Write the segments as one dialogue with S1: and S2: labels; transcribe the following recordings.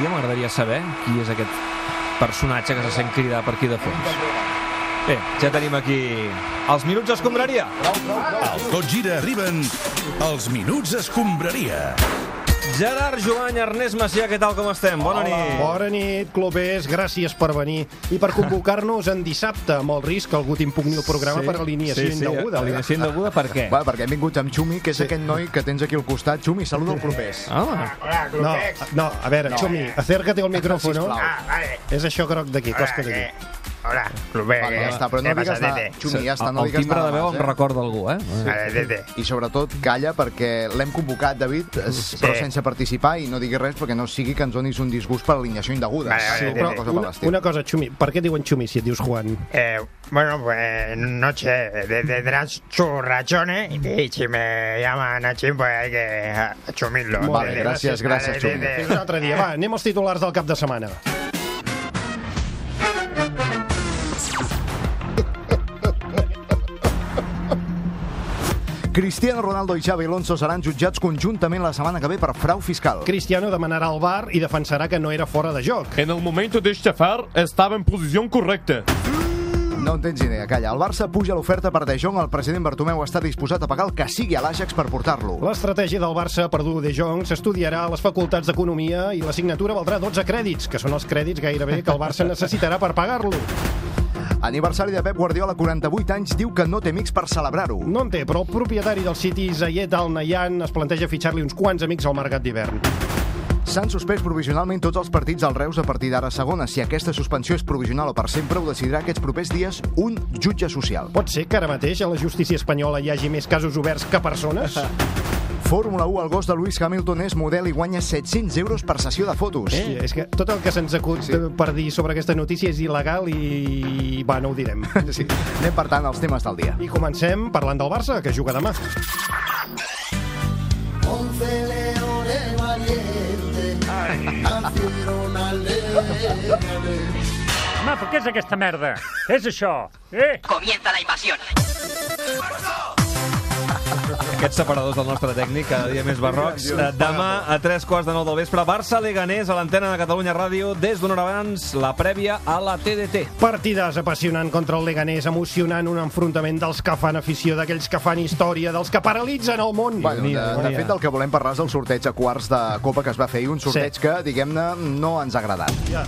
S1: dia m'agradaria saber qui és aquest personatge que se sent cridar per aquí de fons. Bé, ja tenim aquí els minuts escombraria.
S2: Al Tot Gira arriben els Minuts Escombraria.
S1: Gerard Joan, Ernest Macià, què tal, com estem? Bona nit.
S3: Bona nit, clubers, gràcies per venir i per convocar-nos en dissabte, amb el risc que algú timpugni el programa sí, per alineació sí, sí, indeguda. eh?
S1: Alineació indeguda per què?
S4: Va, perquè hem vingut amb Xumi, que és aquest noi que tens aquí al costat. Xumi, saluda el propers.
S1: Ah,
S3: No, no, a veure, Xumi, acércate al micrófono.
S4: Sisplau.
S5: Ah, vale.
S3: És això groc d'aquí, costa d'aquí.
S5: Eh, Hola, Rubén.
S4: Va,
S5: eh,
S4: ja està, però no
S5: eh,
S4: digues nada.
S5: pasadete.
S4: Xumi, ja està,
S1: el,
S4: no
S1: el
S4: digues
S1: timbre
S4: nada
S1: de veu
S4: més,
S1: em
S4: eh?
S1: recorda algú, eh?
S5: Pasadete.
S4: I sobretot calla perquè l'hem convocat, David, es- però sense participar i no digui res perquè no sigui que ens donis un disgust per alineació indeguda.
S5: Vale, vale,
S4: Sí,
S5: vale,
S4: una
S5: vale.
S4: cosa per
S3: Una,
S4: l'estil.
S3: una cosa, Xumi, per què diuen Xumi si et dius Juan?
S5: Eh, bueno, pues noche de, tendrás churrachones y si me llaman a Chim, pues hay que ah, chumirlo.
S4: Vale,
S5: Dede,
S4: gràcies, gràcies,
S5: dede,
S4: Xumi.
S5: dede.
S3: Fins un altre dia, va, anem als titulars del cap de setmana.
S4: Cristiano Ronaldo i Xavi Alonso seran jutjats conjuntament la setmana que ve per frau fiscal.
S3: Cristiano demanarà al bar i defensarà que no era fora de joc.
S6: En el momento de estafar estaba en posición correcta.
S4: No en tens idea, calla. El Barça puja l'oferta per De Jong, el president Bartomeu està disposat a pagar el que sigui a l'Àgex per portar-lo.
S3: L'estratègia del Barça per dur De Jong s'estudiarà a les facultats d'Economia i la signatura valdrà 12 crèdits, que són els crèdits gairebé que el Barça necessitarà per pagar-lo.
S4: Aniversari de Pep Guardiola, 48 anys, diu que no té amics per celebrar-ho.
S3: No en té, però el propietari del City, Zayed Al Nayan, es planteja fitxar-li uns quants amics al mercat d'hivern.
S4: S'han suspès provisionalment tots els partits al Reus a partir d'ara a segona. Si aquesta suspensió és provisional o per sempre, ho decidirà aquests propers dies un jutge social.
S3: Pot ser que ara mateix a la justícia espanyola hi hagi més casos oberts que persones?
S4: Fórmula 1, el gos de Lewis Hamilton és model i guanya 700 euros per sessió de fotos.
S3: Sí, Eh, és que tot el que se'ns acut
S4: Sí.
S3: sí. per dir sobre aquesta notícia és il·legal i... va, no ho direm.
S4: Sí. Anem, per tant, als temes del dia.
S3: I comencem parlant del Barça, que juga demà.
S7: Home, però què és aquesta merda? Què és això? Eh?
S8: Comienza la invasión.
S1: Aquests separadors del nostre tècnic, cada dia més barrocs. Eh, Demà, a tres quarts de nou del vespre, Barça-Leganés a l'antena de Catalunya Ràdio, des d'una hora abans, la prèvia a la TDT.
S3: Partidàs apassionant contra el Leganés, emocionant un enfrontament dels que fan afició, d'aquells que fan història, dels que paralitzen el món.
S4: Bueno, de,
S3: Déu
S4: de
S3: n'hi ha.
S4: fet, el que volem parlar és del sorteig a quarts de Copa que es va fer i un sorteig
S3: Sí.
S4: que, diguem-ne, no ens ha agradat.
S3: Ja.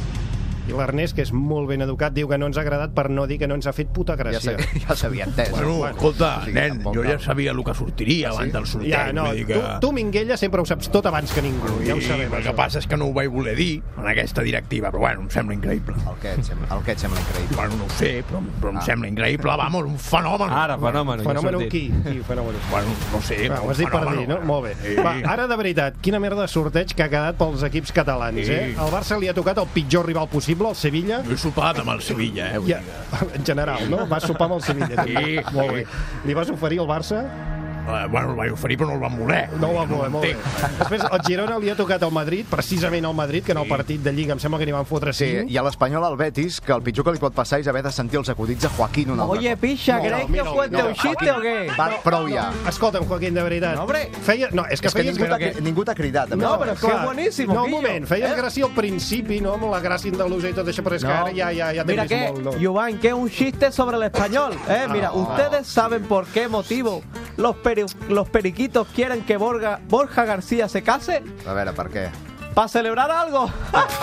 S3: I l'Ernest, que és molt ben educat, diu que no ens ha agradat per no dir que no ens ha fet puta
S4: Ja,
S3: gràcia.
S4: s'ha- ja s'havia entès.
S9: Bueno,
S4: Bueno,
S9: escolta,
S4: o sigui,
S9: nen,
S4: tampoc
S9: jo ja
S4: cal.
S9: sabia el que sortiria abans del sorteig.
S3: Ja, no,
S9: vull dir
S3: tu, tu, Minguella, sempre ho saps tot abans que ningú, ja ho
S9: Sí,
S3: sabem.
S9: però el
S3: això.
S9: que passa és que no ho vaig voler dir en aquesta directiva, però bueno, em sembla increïble.
S4: El que et sembla, el que et sembla increïble.
S9: Bueno, no ho sé, però, però em
S3: Ah.
S9: sembla increïble. Vamos, un fenomen.
S1: Ara, fenomen.
S3: Fenomen qui? qui fenomen
S9: Bueno, no ho sé.
S3: Va,
S9: però
S3: Ah. ho
S9: un
S3: has dit per
S9: fenomen.
S3: dir, no? Molt bé.
S9: Sí.
S3: Va, ah. ara, de veritat, quina merda de sorteig que ha quedat pels equips catalans,
S9: Sí.
S3: eh? El Barça li ha tocat el pitjor rival possible, el Sevilla,
S9: Jo he sopat amb el Sevilla, eh?
S3: i,
S9: Ja.
S3: en general, no? Va sopar amb el Sevilla.
S9: Sí.
S3: Molt bé. Li vas oferir al Barça?
S9: Eh, bueno, el vaig oferir, però no el van voler.
S3: No ho va
S9: Vull dir,
S3: voler, molt bé.
S9: entenc.
S3: Després, el Girona li ha tocat al Madrid, precisament al Madrid, que en el partit de Lliga em sembla que n'hi van fotre
S4: Sí,
S3: 5.
S4: Eh, i a l'Espanyol al Betis, que el pitjor que li pot passar és haver de sentir els acudits de Joaquín un altre cop.
S10: picha,
S3: No, ¿creéis que mira, fue mira, un
S10: chiste o qué?
S4: Va, prou ja.
S3: Escolta'm, Joaquín, de veritat.
S10: No, hombre.
S3: Feia... No, és que,
S4: És que
S3: feies...
S4: ningú t'ha ningú t'ha cridat. a
S10: No,
S4: veure.
S10: però és que
S3: Clar.
S10: és boníssim,
S3: No, un
S10: Quillo.
S3: moment, feies eh? gràcia al principi, no? Amb la gràcia andalusa i tot això, però és que
S10: No.
S3: ara ja, ja, ja t'he
S10: Mira
S3: vist
S10: que,
S3: molt. No?
S10: Giovanni, que es un chiste sobre el español. Eh, mira, ustedes saben por qué motivo los, peri- los periquitos quieren que Borga- Borja García se case
S4: A veure, per què?
S10: para celebrar algo.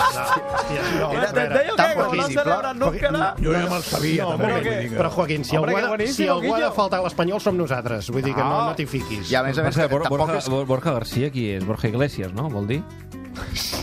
S10: ¿Me
S3: Hòstia, no, a veure.
S10: entendéis o qué?
S4: tan
S10: Como no
S4: poquíssim,
S10: celebran nunca nada.
S9: Jo ja me'l sabia,
S3: No,
S9: no,
S3: però,
S9: també.
S3: que,
S9: vull dir que-
S3: però Joaquín, si
S10: Hombre,
S3: algú, ha
S10: que
S3: de, si
S10: bonísimo,
S3: algú ha de
S10: Quillo.
S3: faltar a l'Espanyol som nosaltres, vull dir que no, no t'hi fiquis.
S4: I a més a més,
S1: Borja,
S4: que
S1: Borja,
S4: tampoc
S1: Borja,
S4: és...
S1: Borja García, qui és? Borja Iglesias, no? Vol dir?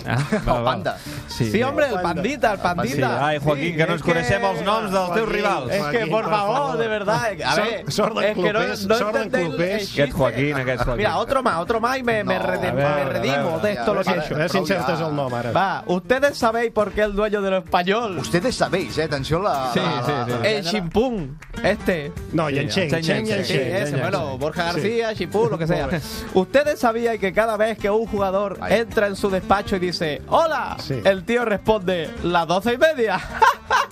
S1: Ah,
S4: El panda.
S1: Sí,
S10: Sí, hombre, el
S3: Panda.
S10: pandita, el pandita.
S1: Ah, pues Sí, ai, Joaquín, que no ens
S10: es que-
S1: coneixem els noms dels teus rivals.
S10: Es que,
S3: Joaquín,
S10: por
S3: por
S10: favor,
S3: favor.
S10: de verdad. eh, A
S3: Sor-
S10: ver,
S3: sordo en
S10: es que no,
S3: clubes,
S10: no
S3: sordo en
S10: entendéis el- el
S3: clubes.
S10: chiste.
S1: Aquest Joaquín, aquest Joaquín.
S10: Mira, otro más, otro más y me, me, rede-
S1: a ver,
S10: me
S1: a ver,
S10: redimo
S1: a ver,
S10: de esto lo que he
S3: A
S10: hecho.
S3: veure si encertes eh? el nom, ara.
S10: Va, ustedes sabéis por qué el dueño de lo español.
S4: Ustedes sabéis, eh? Atenció a la...
S10: Sí,
S4: la-
S10: sí,
S4: la-
S10: sí.
S4: la-
S1: Eh,
S10: El chimpún, este.
S3: No, i en Xeng,
S1: Xeng,
S3: Xeng i en
S10: Sí,
S1: Xeng,
S3: Xeng.
S10: ese, bueno, Borja García, Chimpún, lo que sea.
S3: Muy bien.
S10: Ustedes sabían que cada vez que un jugador
S4: Ahí.
S10: entra en su despacho y dice, hola,
S3: Sí.
S10: el tío responde, las doce y media.
S1: Ah,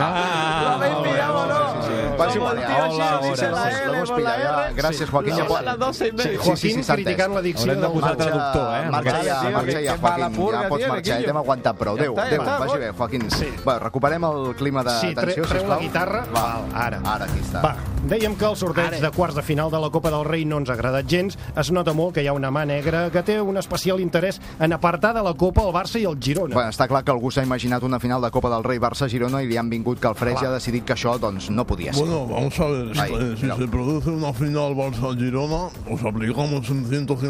S3: Ah.
S10: Lo habéis pillado,
S8: Ah,
S1: sí,
S10: ¿no?
S1: sí, sí.
S4: Va, és
S10: Como
S4: igual,
S10: el
S4: ja.
S10: tío
S1: Hola,
S10: Xavi
S1: hola,
S10: se la
S1: sí,
S10: L
S4: la vols
S10: por
S4: pillar,
S10: la
S4: ja.
S10: R.
S4: Gràcies, Joaquín,
S10: La
S4: ja
S10: L
S4: pot-
S10: a las 12 y media.
S4: Sí, sí,
S3: Joaquín
S4: sí, s'ha entès.
S3: criticant la dicció
S1: Haurem de
S3: del
S1: posar
S3: Barça.
S1: traductor, eh? en
S4: Marxa
S1: aquest-
S4: ja,
S10: Sí,
S4: marxa ja,
S10: que va a la
S4: Joaquín.
S10: purga,
S4: ja pots
S10: tio,
S4: marxar, ja
S10: Guillo.
S4: t'hem aguantat prou.
S10: Ja
S4: Déu,
S10: està, ja
S4: Déu,
S10: està,
S4: vagi
S10: bon.
S4: bé, Joaquín.
S3: Sí.
S4: Va, recuperem el clima de
S3: Sí, tre-
S4: tensió,
S3: treu
S4: sisplau.
S3: la guitarra.
S4: Va,
S3: Val, ara.
S4: Ara aquí està.
S3: Va, dèiem que el sorteig de quarts de final de la Copa del Rei no ens ha agradat gens. Es nota molt que hi ha una mà negra que té un especial interès en apartar de la Copa el Barça i el Girona.
S4: Bueno, està clar que algú s'ha imaginat una final de Copa del Rei Barça-Girona i li han vingut que el Freix ha decidit que això doncs, no podia ser.
S8: Bueno, vamos a ver, si,
S4: Ahí,
S8: eh, si
S4: mira.
S8: se produce una final Barça-Girona, os aplicamos un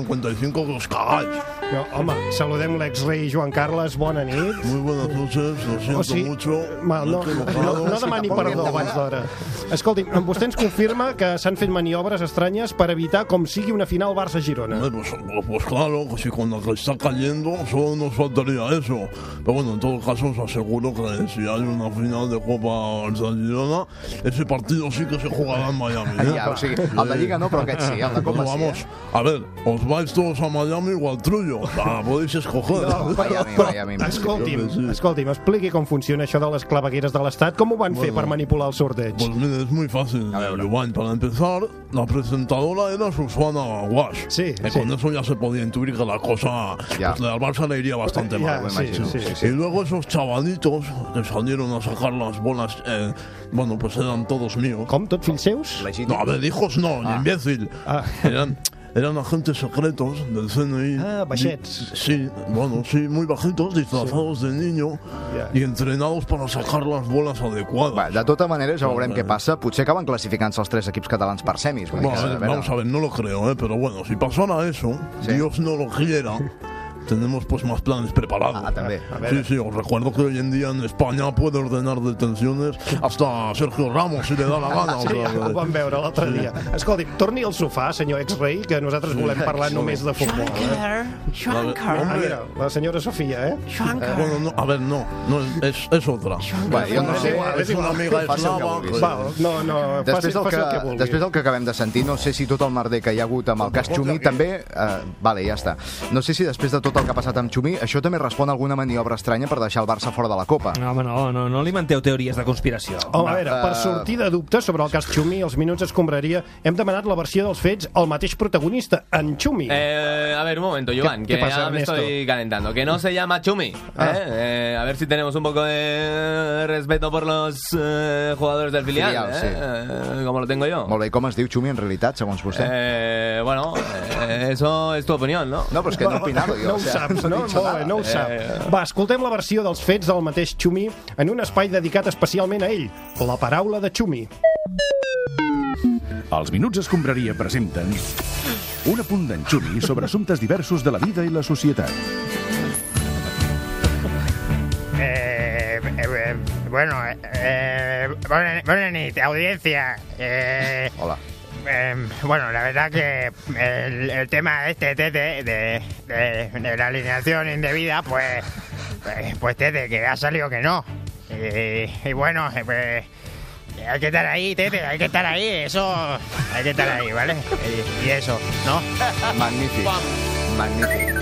S8: 155 que os cagáis.
S3: No, home, saludem l'exrei Joan Carles, bona nit.
S8: Muy buenas noches, lo siento
S3: O sigui,
S8: mucho.
S3: mal, Eh, no,
S8: me he
S3: no,
S8: equivocado.
S3: no demani
S4: tampoc
S3: perdó
S4: hem
S3: abans d'hora. Escolti, vostè ens confirma que s'han fet maniobres estranyes per evitar com sigui una final Barça-Girona.
S8: Hombre, Pues, pues claro, que si con la que está cayendo solo nos faltaría eso. Pero bueno, en todo caso os aseguro que si hay una final de Copa Barcelona, ese partido sí que se jugará en Miami. ¿eh?
S4: Ja, o sigui, el de Lliga no, però aquest sí, eh. el de
S8: No,
S4: Copa sí.
S8: vamos, a ver, os vais todos a Miami o al Trullo. O sea, podéis escoger.
S4: Eh? Miami, Miami.
S3: Escolti'm, escolti'm, expliqui com funciona això de les clavegueres de l'Estat, com ho van fer per manipular el sorteig.
S8: Pues mire, es muy fácil,
S4: A ver, bro.
S8: Luan. Para empezar, la presentadora era Susana Guas.
S3: Sí,
S8: Y
S3: sí.
S8: con eso ya se podía intuir que la cosa
S4: Ya.
S8: pues, al Barça le iría bastante
S3: Ya,
S8: mal.
S3: me sí, imagino. sí, sí, sí.
S8: Y luego esos chavalitos que salieron a sacar las bolas, eh, bueno, pues eran todos míos.
S3: Com, tot fills seus?
S8: No, a ver, hijos no,
S4: Ah.
S8: imbécil.
S3: Ah.
S8: Eran, eran agentes secretos del CNI.
S3: Ah, bachets.
S8: Di- Sí, bueno, sí, muy bajitos, disfrazados de niño
S3: Ya.
S8: y entrenados para sacar las bolas adecuadas.
S4: Va, de tota manera, ja veurem què passa. Potser acaben classificant-se els tres equips catalans per semis. vull dir
S8: Bueno,
S4: que,
S8: a ver, vamos a ver, no lo creo, ¿eh? pero bueno, si pasara eso,
S4: Sí.
S8: Dios no lo quiera, tenemos pues más planes preparados.
S4: Ah, también. A
S8: Sí, sí, os recuerdo que hoy en día en España puede ordenar detenciones hasta Sergio Ramos si le da la gana. o
S3: Sí,
S8: sea,
S3: ho vam veure l'altre dia. Escolti'm, torni al sofà, senyor ex-rei, que nosaltres volem parlar només de futbol. Eh? Ah,
S8: hombre,
S3: mira, la senyora Sofia, eh?
S8: bueno, no, a ver, no, no es, es- es otra.
S4: Bueno, jo no
S3: és
S4: sé.
S3: igual,
S8: es
S3: és
S8: una
S3: igual.
S8: amiga
S4: Faci el que
S8: eslava
S4: vulguis.
S8: que-
S3: Val, no, no, faci,
S4: Després del,
S3: faci
S4: que,
S3: el que vulgui.
S4: després del que acabem de sentir, no sé si tot el merder que hi ha hagut amb el cas Xumi també... Eh, vale, ja està. No sé si després de tot el que ha passat amb Xumi, això també respon a alguna maniobra estranya per deixar el Barça fora de la Copa.
S1: No, home, no, no, no li menteu teories de conspiració.
S3: Home, Oh, a veure, per sortir de dubtes sobre el cas Xumi, els minuts escombraria, hem demanat la versió dels fets al mateix protagonista, en Xumi.
S11: Eh, a ver, un momento, Joan,
S3: qué
S11: que
S3: pasa,
S11: ya me
S3: Ernesto?
S11: estoy calentando. Que no se llama Chumi. ¿eh? Eh, a ver si tenemos un poco de respeto por los eh, jugadores del filial.
S4: Filial,
S11: ¿eh?
S4: sí.
S11: Eh, como lo tengo yo.
S4: Molt bé, i com es diu Xumi en realitat, segons vostè?
S11: Eh, bueno, eh, eso es tu opinión, ¿no?
S4: No, però és que no he opinat, jo.
S3: No ho saps, no? Molt bé, no ho sap. Va, escoltem la versió dels fets del mateix Xumi en un espai dedicat especialment a ell, la paraula de Xumi.
S2: Els Minuts Escombraria presenten un apunt d'enxumi sobre assumptes diversos de la vida i la societat.
S5: Eh, eh, eh, bueno, eh, bona, bona nit, audiencia. Eh,
S4: Hola.
S5: Eh, bueno, la verdad que el, el tema este, Tete, de, de- de la alineación indebida, pues, pues, pues, Tete, que ha salido que no. Y, y bueno, eh, pues, hay que estar ahí, Tete, hay que estar ahí, eso, hay que estar ahí, ¿vale? Y, y eso, ¿no?
S4: Magnífic. Magnífic.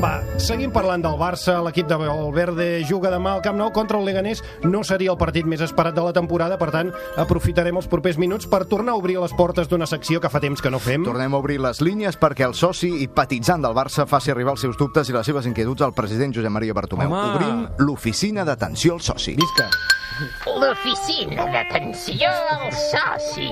S3: Va, seguim parlant del Barça. L'equip de Valverde juga demà al Camp Nou contra el Leganés. No seria el partit més esperat de la temporada, per tant, aprofitarem els propers minuts per tornar a obrir les portes d'una secció que fa temps que no fem.
S4: Mm. Tornem a obrir les línies perquè el soci i patitzant del Barça faci arribar els seus dubtes i les seves inquietuds al president Josep Maria Bartomeu.
S1: Home.
S4: Obrim l'oficina d'atenció al soci.
S3: Visca.
S12: L'oficina d'atenció al soci.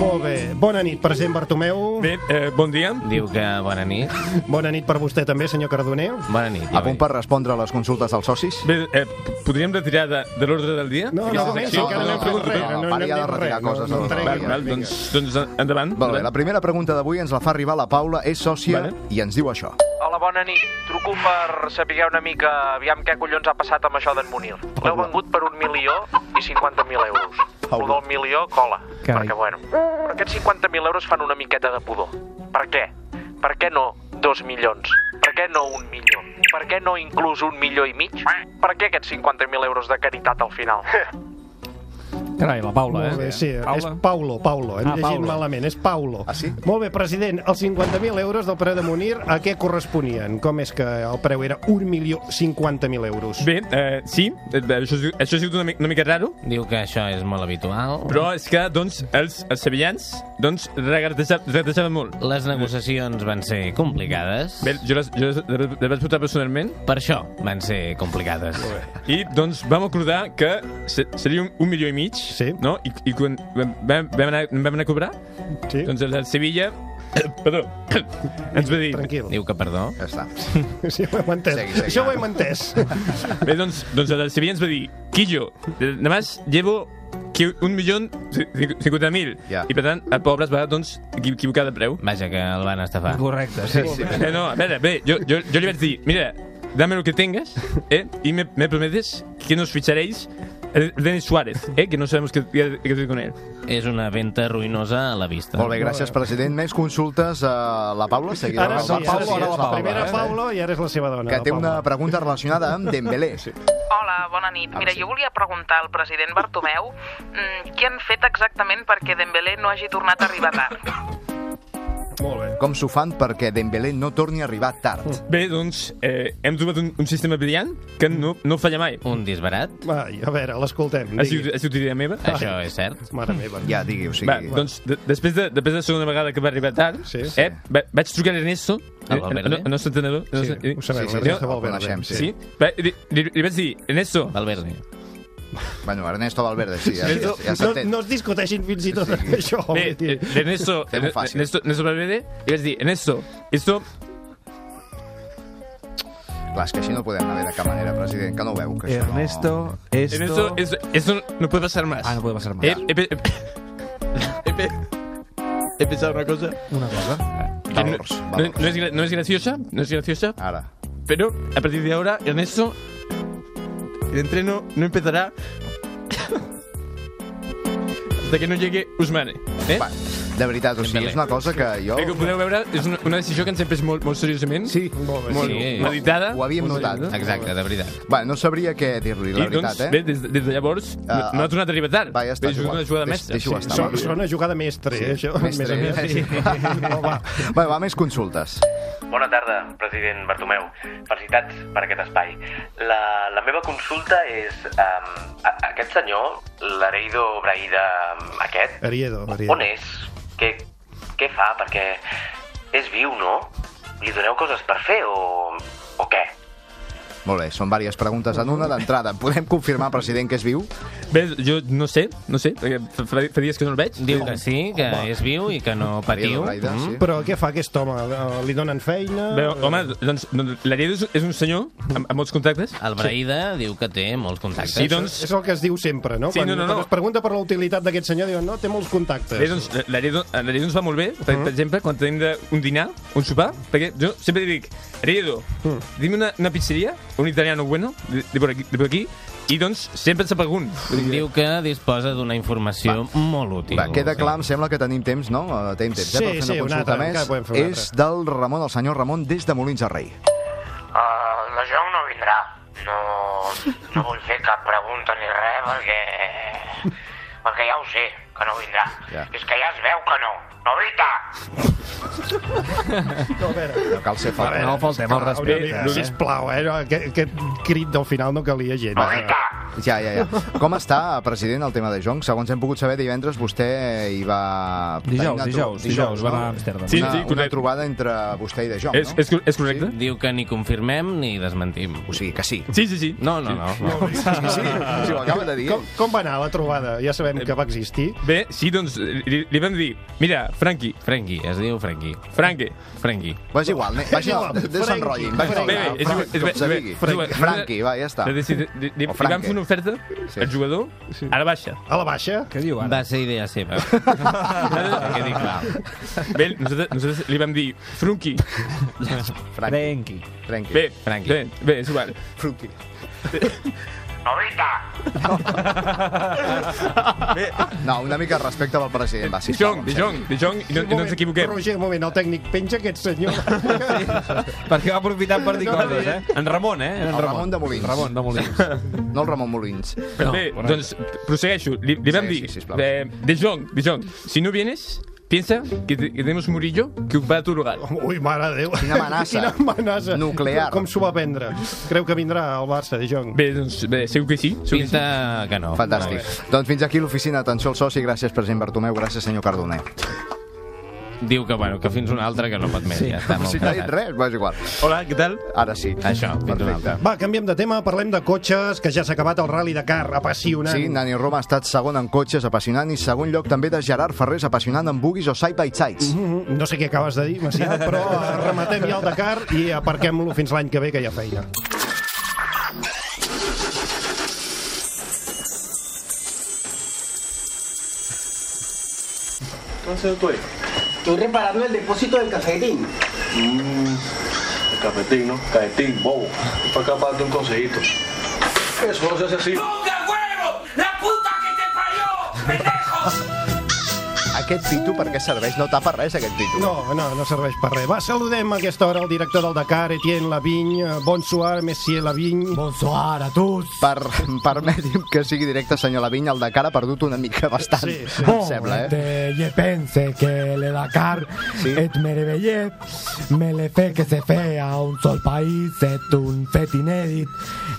S3: Molt bé. Bona nit, president Bartomeu.
S6: Bé, eh, bon dia.
S11: Diu que bona nit.
S3: Bona nit per vostè també, senyor Cardoner.
S11: Bona nit.
S4: A punt per respondre a les consultes dels socis?
S6: Bé, eh, podríem retirar de, de l'ordre del dia?
S3: No, no,
S6: aquesta
S3: comença,
S6: secció?
S3: encara no hem
S6: pregunto,
S3: fet res.
S6: però-
S4: no,
S3: No, no
S4: pari
S3: hem
S4: de
S3: dit
S4: retirar
S3: res, no,
S4: coses.
S3: no
S4: del-
S3: tregui,
S4: Vinga.
S3: no
S6: Val, doncs, doncs endavant.
S4: Molt bé, la primera pregunta d'avui ens la fa arribar la Paula, és sòcia
S6: Vale.
S4: i ens diu això.
S11: Hola, bona nit. Truco per saber una mica aviam què collons ha passat amb això d'en Munir. L'heu vengut per un milió i 50.000 euros. El del milió cola,
S1: Carai.
S11: perquè bueno. Però aquests 50.000 euros fan una miqueta de pudor. Per què? Per què no dos milions? Per què no un milió? Per què no inclús un milió i mig? Per què aquests 50.000 euros de caritat al final?
S13: Carai, la Paula,
S3: Molt bé,
S13: eh?
S3: Sí, és
S13: Paula.
S3: Paulo, Paulo. Hem
S13: Ah,
S3: ah, llegit
S13: Paulo.
S3: malament, és Paulo. Ah, sí? Molt bé, president, els 50.000 euros del preu de Munir, a què corresponien? Com és que el preu era 1.050.000 euros?
S6: Bé, eh, sí, eh, això, és- això ha sigut una, mi- una mica raro,
S14: Diu que això és molt habitual.
S6: però és que, doncs, els, els sevillans, doncs, regateja- regatejaven molt.
S14: Les negociacions van ser complicades.
S6: Bé, jo les, jo les, les vaig portar personalment.
S14: Per això van ser complicades.
S6: I, doncs, vam acordar que se- seria un, un milió i mig, sí. no? I, i quan vam, vam, anar, vam anar a cobrar,
S3: sí.
S6: doncs el, el Sevilla... Perdó, ens va dir...
S3: Tranquil.
S14: Diu que perdó.
S4: Ja està.
S3: Sí, ho hem entès.
S6: Segui, segui.
S3: Això ho hem entès.
S6: Bé, doncs, doncs el Sevilla ens va dir Quillo, nada más llevo qui- un milió cinquanta mil.
S14: Ja.
S6: I per tant, el pobre es va, doncs, equi- equivocar de preu.
S14: Vaja, que el van estafar.
S13: Correcte,
S14: sí, sí.
S6: Eh, no, a veure, bé, jo, jo, jo li vaig dir, mira, dame lo que tengas, eh, y me, me prometes que nos ficharéis eh, Denis Suárez, eh, que no sabemos qué qué- qué hacer con él.
S14: És una venta ruïnosa a la vista.
S4: Molt bé, gràcies, president. Més consultes a la Paula, seguida.
S3: Ara sí,
S4: la
S3: ara sí,
S4: Paula, ara la Paula. eh?
S3: Primera Paulo i ara és la seva dona.
S4: Que
S3: la
S4: té
S3: Paula.
S4: una pregunta relacionada amb Dembélé. Sí.
S15: Hola, bona nit. Mira, jo volia preguntar al president Bartomeu mm, què han fet exactament perquè Dembélé no hagi tornat a arribar tard.
S4: Com s'ho fan perquè Dembélé no torni a arribar
S3: Mm.
S4: tard?
S6: Bé, doncs, eh, hem trobat un, un sistema brillant que no, no falla mai.
S14: Un disbarat.
S3: Ai, a veure, l'escoltem.
S6: Ha sigut, ha sigut idea meva.
S14: Això és cert.
S3: Mare meva.
S4: Ja, digui, o sigui...
S6: Va, doncs, de, després, de, després de la segona vegada que va arribar tard, sí, sí. Eh, va, vaig trucar a Ernesto,
S14: A
S6: eh,
S14: Valverde?
S6: el, el nostre entrenador. el
S14: Sí,
S6: nostre-
S14: ho sabem, l'Ernesto Valverde. El coneixem, sí.
S6: sí. Va, li, li, li vaig dir, Ernesto... eh,
S14: Valverde.
S4: Bueno, Ernesto Valverde, sí, ja, ja,
S6: Ernesto-
S4: ja s'entén.
S3: No es discuteixin fins i tot sí. això.
S6: Bé, eh, Ernesto,
S4: Fem-ho fàcil.
S6: Ernesto, Ernesto Valverde, li vaig dir, Ernesto, esto...
S4: Clar, és que així no podem anar bé de cap manera, president, que no ho veu. Que això
S1: Ernesto,
S4: esto-
S6: Ernesto, esto, esto no puede pasar más. Ah,
S1: no puede pasar
S6: más. Eh, eh, eh, eh, eh, He pensado una cosa.
S4: Una cosa.
S6: Que no, no, no es, gra- no es graciosa, no es graciosa.
S4: Ahora.
S6: Pero a partir de ahora, Ernesto, el entreno no empezará hasta que no llegue Usmane. Eh?
S4: Va, de veritat, o sigui, és una cosa que jo...
S6: Eh, que ho podeu veure, és una, una decisió que ens hem pres molt, molt seriosament.
S4: Sí,
S6: molt,
S4: bé.
S6: molt
S4: Sí.
S6: meditada.
S4: Ho havíem
S6: molt
S4: notat.
S6: seriosament.
S4: Exacte,
S14: de veritat.
S4: Va, no sabria què dir-li, la
S6: I
S4: veritat,
S6: doncs,
S4: eh?
S6: bé, des, des de llavors, no,
S4: Ah,
S6: no ha tornat a arribar tard.
S4: va, ja està,
S6: Bé, és
S4: és igual.
S6: una jugada
S4: Deix-
S6: mestra.
S4: deixa-ho estar,
S3: Sona, sona jugada mestre, sí. això.
S4: Mestre,
S3: Més aviat.
S4: sí. Va, va, més consultes.
S16: Bona tarda, president Bartomeu. Felicitats per aquest espai. La, la meva consulta és... Um, a, aquest senyor, l'Areido Braida, em, aquest,
S3: Ariedo, Ariedo.
S16: on és? Què, què fa? Perquè és viu, no? Li doneu coses per fer o, o què?
S4: Molt bé, són diverses preguntes en una d'entrada. Podem confirmar, president, que és viu?
S6: Bé, jo no sé, no sé, perquè fa, fa- fa dies que no el veig.
S14: Diu que sí, que és viu i que no patiu. Mm.
S6: Mm-hmm.
S3: Però què fa aquest home? Eh, Li donen feina?
S6: Bé, home, doncs, doncs l'Ariedo és, és un senyor amb, amb molts contactes.
S14: El Braida diu que té molts contactes.
S6: Sí, doncs,
S3: És el que es diu sempre, no?
S6: Sí,
S3: Quan,
S6: no, no,
S3: quan
S6: no.
S3: es pregunta per la utilitat d'aquest senyor, diuen, no, té molts contactes.
S6: Bé, doncs, l'Ariedo l'Ariedo ens va molt bé,
S1: Mm.
S6: per, per exemple, quan tenim de, un dinar, un sopar, perquè jo sempre li dic, Ariedo,
S1: Mm.
S6: dime una, una pizzeria, un italiano bueno, de, de, por aquí, de por aquí, i doncs sempre en sap algun.
S14: Diu que disposa d'una informació molt útil.
S4: Va, queda clar, em sembla que tenim temps, no? Eh, Tenim temps,
S14: Sí,
S4: eh? Per fer
S14: sí, una
S4: una consulta
S14: altra, encara podem
S4: més.
S14: fer una
S4: És del Ramon, el senyor Ramon, des de Molins de Rei.
S11: Uh, la Jong no vindrà. No, no vull fer cap pregunta ni res perquè... Perquè ja ho sé, que no vindrà.
S4: Ja.
S11: És que ja es veu que no. Novita!
S4: No cal ser
S3: A
S4: falta.
S3: veure, una mica, Sisplau, eh? No, aquest, aquest crit del final no calia gent.
S4: Ja, ja, ja. Com està, president, el tema de Jong? Segons hem pogut saber, divendres vostè hi va...
S14: Dijous,
S4: tenir una tro-
S14: dijous, dijous, va anar a Amsterdam. Sí,
S4: Una,
S14: sí,
S4: una
S14: correcte.
S4: trobada entre vostè i de Jong, no?
S6: és, és correcte?
S14: Sí? Diu que ni confirmem ni desmentim. O
S4: sigui, que sí.
S6: Sí, sí, sí.
S14: No, no, no. no.
S3: Sí,
S6: Ah,
S4: sí, sí, ho acaba de dir.
S3: Com, com va anar la trobada? Ja sabem que va existir.
S6: Bé, sí, doncs, li, li vam dir, mira, Franqui.
S14: Franqui, es diu Franqui.
S6: Franqui.
S14: Franqui.
S4: Va, és igual, ne- va, és igual, desenrotllin. Va, és igual,
S6: Bé, bé, és
S4: Frank,
S6: igual, és
S4: Ah, com
S6: bé,
S4: se
S6: bé,
S4: digui.
S6: és igual.
S4: Franqui, va, ja està.
S6: Li, li, li, li
S4: O
S6: vam
S4: Franque.
S6: fer una oferta al jugador a la baixa.
S3: A la baixa?
S6: Què diu
S14: Va ser idea seva. que dic, clar.
S6: Bé, nosaltres, nosaltres li vam dir Frunqui.
S4: Franqui. Franqui.
S6: Bé, Franqui. Bé, bé, és igual.
S4: Frunqui.
S11: Novita!
S4: No, una mica de respecte pel president,
S6: Eh,
S4: va, sisplau.
S6: Dijong, Dijong, Dijong, i no, i no ens equivoquem.
S3: Roger, un moment, el tècnic, penja aquest senyor.
S1: Perquè va aprofitant per dir coses, eh? En Ramon, eh?
S4: El Ramon de Molins.
S1: Ramon de Molins.
S4: No el Ramon Molins.
S6: No, Bé,
S4: correcte.
S6: doncs prossegueixo. Li, li vam
S4: Sí,
S6: dir,
S4: sí,
S6: sí,
S4: sisplau.
S6: eh, Dijong, Dijong, si no vienes, piensa que, te- que tenemos Murillo que ocupará tu lugar.
S3: Ui, mare de Déu.
S4: Quina amenaça.
S3: Quina amenaça.
S4: Nuclear.
S3: Com s'ho va prendre? Creu que vindrà al Barça, Dijong?
S6: Bé, doncs, bé, segur que sí. Segur
S4: Pinta
S14: que no.
S4: Fantàstic. Doncs fins aquí l'oficina Atenció al Soci. Gràcies, president Bartomeu. Gràcies, senyor Cardoner.
S14: Diu que, bueno, que fins una altra que no pot més. Sí. Ja està
S4: Si
S14: molt
S4: t'ha dit
S14: cansat.
S4: res, va, és igual.
S6: Hola, què tal?
S4: Ara sí.
S14: Això, fins una altra.
S3: Va, canviem de tema, parlem de cotxes, que ja s'ha acabat el Rally de Car, apassionant.
S4: Sí, Nani Roma ha estat segon en cotxes, apassionant, i segon lloc també de Gerard Ferrés, apassionant en buguis o side-by-sides.
S3: Mm -hmm. No sé què acabes de dir, Macià, però eh, rematem ja el Dakar i aparquem-lo fins l'any que ve, que hi ha feina.
S13: Entonces estoy. Estoy reparando el depósito del cafetín.
S17: Mmm, cafetín, ¿no? Cafetín, bobo. Ven para acá para darte un consejito. Eso no se hace así.
S4: Aquest pitu per què serveix? No tapa res, aquest pitu.
S3: No, no, no serveix per res. Va, saludem a aquesta hora el director del Dakar, Etienne Lavigne. Bonsoir, Messier Lavigne.
S4: Bonsoir a tots. Per, permeti'm que sigui directe, senyor Lavinya, el de cara ha perdut una mica bastant, sí, sí. em sembla, eh?
S18: Este, je pense que le Dakar et meravellé, me le fe que se fe a un sol país, et un fet inèdit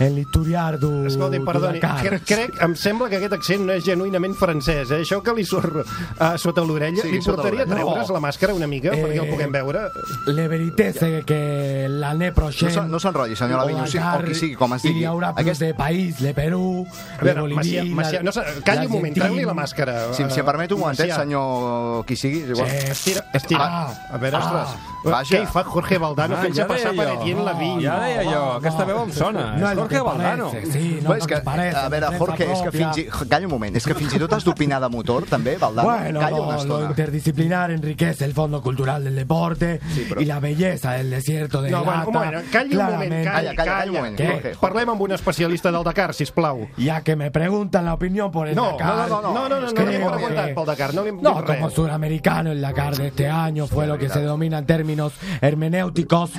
S18: en l'historiar du,
S3: Escolti,
S18: du
S3: perdoni,
S18: Dakar.
S3: crec, crec, em sembla que aquest accent no és genuïnament francès, eh? Això que li surt uh, sota l'orella,
S18: Sí,
S3: li
S18: sota
S3: portaria a
S18: l'orella.
S3: treure's
S18: No.
S3: la màscara una mica,
S18: Eh,
S3: perquè el puguem veure?
S18: La veritat és que l'année
S4: No
S18: prochaine...
S4: s'en- no s'enrotlli, senyor Lavigne, o sigui- o qui sigui, com es digui.
S18: Hi haurà plus
S4: Aquest-
S18: de país, de Perú,
S4: A
S18: de
S4: veure,
S18: Bolívia...
S4: Macià- Macià, no se- calli un moment, treu-li la màscara, Si- si em eh, permet un momentet, Macià. senyor qui sigui, és igual.
S3: Sí, estira, estira.
S4: Ah,
S3: a veure, ostres.
S4: ah,
S3: Ah,
S4: vaja.
S3: què hi fa Jorge Valdano
S4: Ah,
S3: ah, fent-se
S4: ja
S3: ja
S4: deia
S3: passar per
S4: jo.
S3: Etienne Lavigne?
S4: Ja deia jo, aquesta veu em sona. No És és el Jorge que Valdano. parece, sí, no, Pues no és que, que parece, a veure, de prensa Jorge, és que pròpia. fins i- calla un moment, és que fins i tot has d'opinar de motor, també, Valdano?
S18: Bueno,
S4: Calla
S18: lo-
S4: una
S18: lo,
S4: estona.
S18: interdisciplinar enriquece el fondo cultural del deporte y la belleza del desierto de
S3: No, bueno, un moment, calli un moment, calla, calla, calla, un moment.
S18: ¿Qué?
S3: Jorge, Parlem amb un especialista del Dakar, sisplau.
S18: Ya que me preguntan la opinión por el
S3: No,
S18: Dakar.
S3: no, no, no, no, no, no,
S18: es
S3: no
S18: que
S3: li hem
S18: creo
S3: preguntat
S18: que-
S3: pel Dakar, no li hem dit
S18: No,
S3: res.
S18: como suramericano, el Dakar de este año fue lo que se domina en términos hermenéuticos.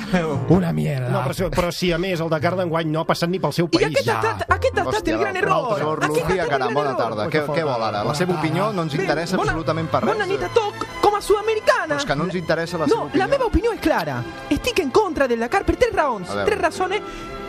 S18: Una mierda.
S3: No, però, si- però si a més el Dakar d'enguany no ha passat ni pel seu país. I aquest ha estat,
S18: aquest
S4: ha estat el gran error. Senyor Lucía Caram, bona tarda. Què, què vol ara? La seva opinió no ens interessa absolutament per res. eh?
S19: Bona nit a toc, com a sudamericana.
S4: Però és Pues que no ens interessa la seva
S19: No, la
S4: opinió.
S19: meva opinió es clara. Estic en contra del Dakar per tres raons.
S4: A veure.
S19: Tres razones.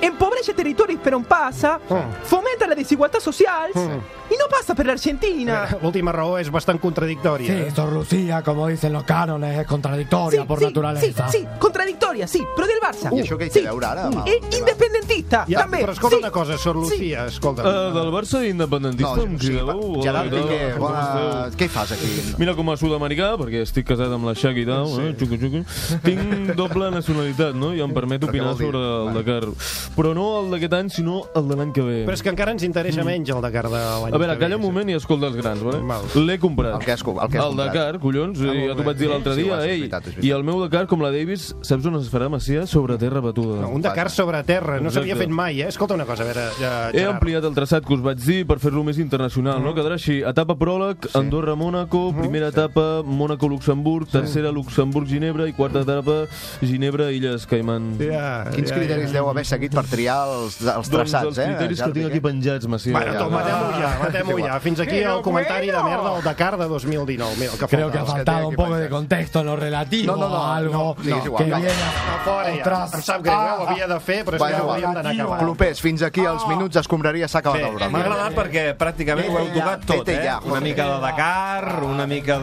S19: Empobrece territoris però on passa, fomenta la desigualtat social i no passa per l'Argentina.
S3: L'última raó és bastant contradictòria.
S18: Sí, esto Rusia, como dicen los cánones, es eh, contradictoria por
S19: sí,
S18: naturaleza.
S19: Sí, sí, contradictoria, sí, però del Barça.
S18: I això què hi té
S19: sí.
S18: a veure ara amb el
S19: I independentista,
S3: Ja,
S19: Ah, també.
S3: però escolta
S19: sí.
S3: una cosa, Sor Lucía, escolta.
S6: Eh,
S20: Uh, del Barça independentista
S3: No,
S20: no, em
S3: sí,
S20: crideu?
S3: va-
S20: Hola,
S3: Gerard
S20: què tal?
S3: Piqué,
S20: Com
S4: bona-
S20: esteu?
S4: Què hi fas aquí?
S20: Mira, com a sud-americà, perquè estic casat amb la Shakira, sí. eh? xucu, xucu, tinc doble nacionalitat, no? I em permet
S3: Però què
S20: opinar
S3: vol dir?
S20: sobre el Dakar. Però no el d'aquest any, sinó el de l'any que ve.
S3: Però és que encara ens interessa menys el Dakar de l'any
S20: A veure,
S3: que ve.
S20: calla un moment i escolta els grans, vale? L'he comprat. El
S4: que has, el
S3: que has
S20: el
S3: comprat.
S20: Dakar, collons,
S3: Ah,
S20: ah,
S3: molt
S20: ja
S3: bé.
S20: t'ho vaig dir l'altre
S3: Sí, sí,
S20: dia,
S3: ho has- és
S20: ei.
S3: veritat, és
S20: I el meu Dakar, com la Davis, saps on es farà, Macià? Sobre terra batuda.
S3: Un Dakar sobre terra, no s'havia
S20: Exacte.
S3: fet mai, eh? Escolta una cosa, a veure, eh,
S20: He
S3: Gerard.
S20: ampliat el traçat que us vaig dir per fer-lo més internacional,
S18: Mm-hmm.
S20: no? Quedarà així, etapa pròleg, Andorra-Mònaco, primera etapa Mònaco-Luxemburg, tercera Luxemburg-Ginebra i quarta etapa Ginebra-Illes Caimán.
S4: Quins criteris deu haver seguit per triar els, els traçats,
S20: doncs els
S4: eh?
S20: criteris que
S4: Gerard
S20: tinc
S4: Piqué?
S20: aquí penjats, Macià.
S4: Bueno,
S3: Tom, matem-ho ja, matem-ho ja. Fins aquí el comentari de merda del Dakar de 2019. Mira, el que
S18: Creo
S3: falta.
S18: que ha
S3: Els
S18: faltado
S3: té
S18: un
S3: aquí
S18: poco de contexto en lo relativo
S3: No, no, no,
S18: a algo
S4: no, sí, és igual,
S18: que
S4: va.
S18: viene
S3: A fora, ja.
S18: atrás.
S3: Em sap greu, eh? ho havia de fer, però és que
S4: Bueno,
S3: hauríem d'anar
S4: va.
S3: acabant.
S4: Propers, fins aquí
S19: Oh.
S4: els minuts d'escombraria s'ha acabat el
S1: M'ha
S4: programa.
S1: agradat perquè pràcticament ho heu tocat tot, eh? Una mica de Dakar, una mica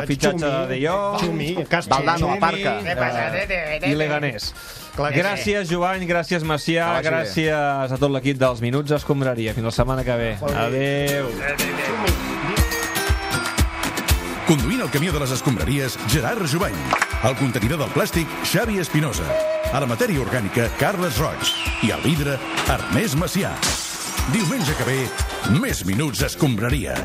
S1: de fitxatge de De Jong,
S3: Xumi, Castro,
S1: Valdano,
S3: Xumi.
S1: aparca.
S3: Què
S18: Eh,
S3: passa, tete, tete?
S1: I Leganés.
S3: Clar que sí.
S1: Gràcies, Joan, gràcies, Macià,
S3: Que vagi bé.
S1: gràcies a tot l'equip dels Minuts Escombraria. Fins la setmana que ve. Adéu.
S2: Conduint el camió de les escombraries, Gerard Jubany. El contenidor del plàstic, Xavi Espinosa. A la matèria orgànica, Carles Roig. I al vidre, Ernest Macià. Diumenge que ve, més minuts escombraria.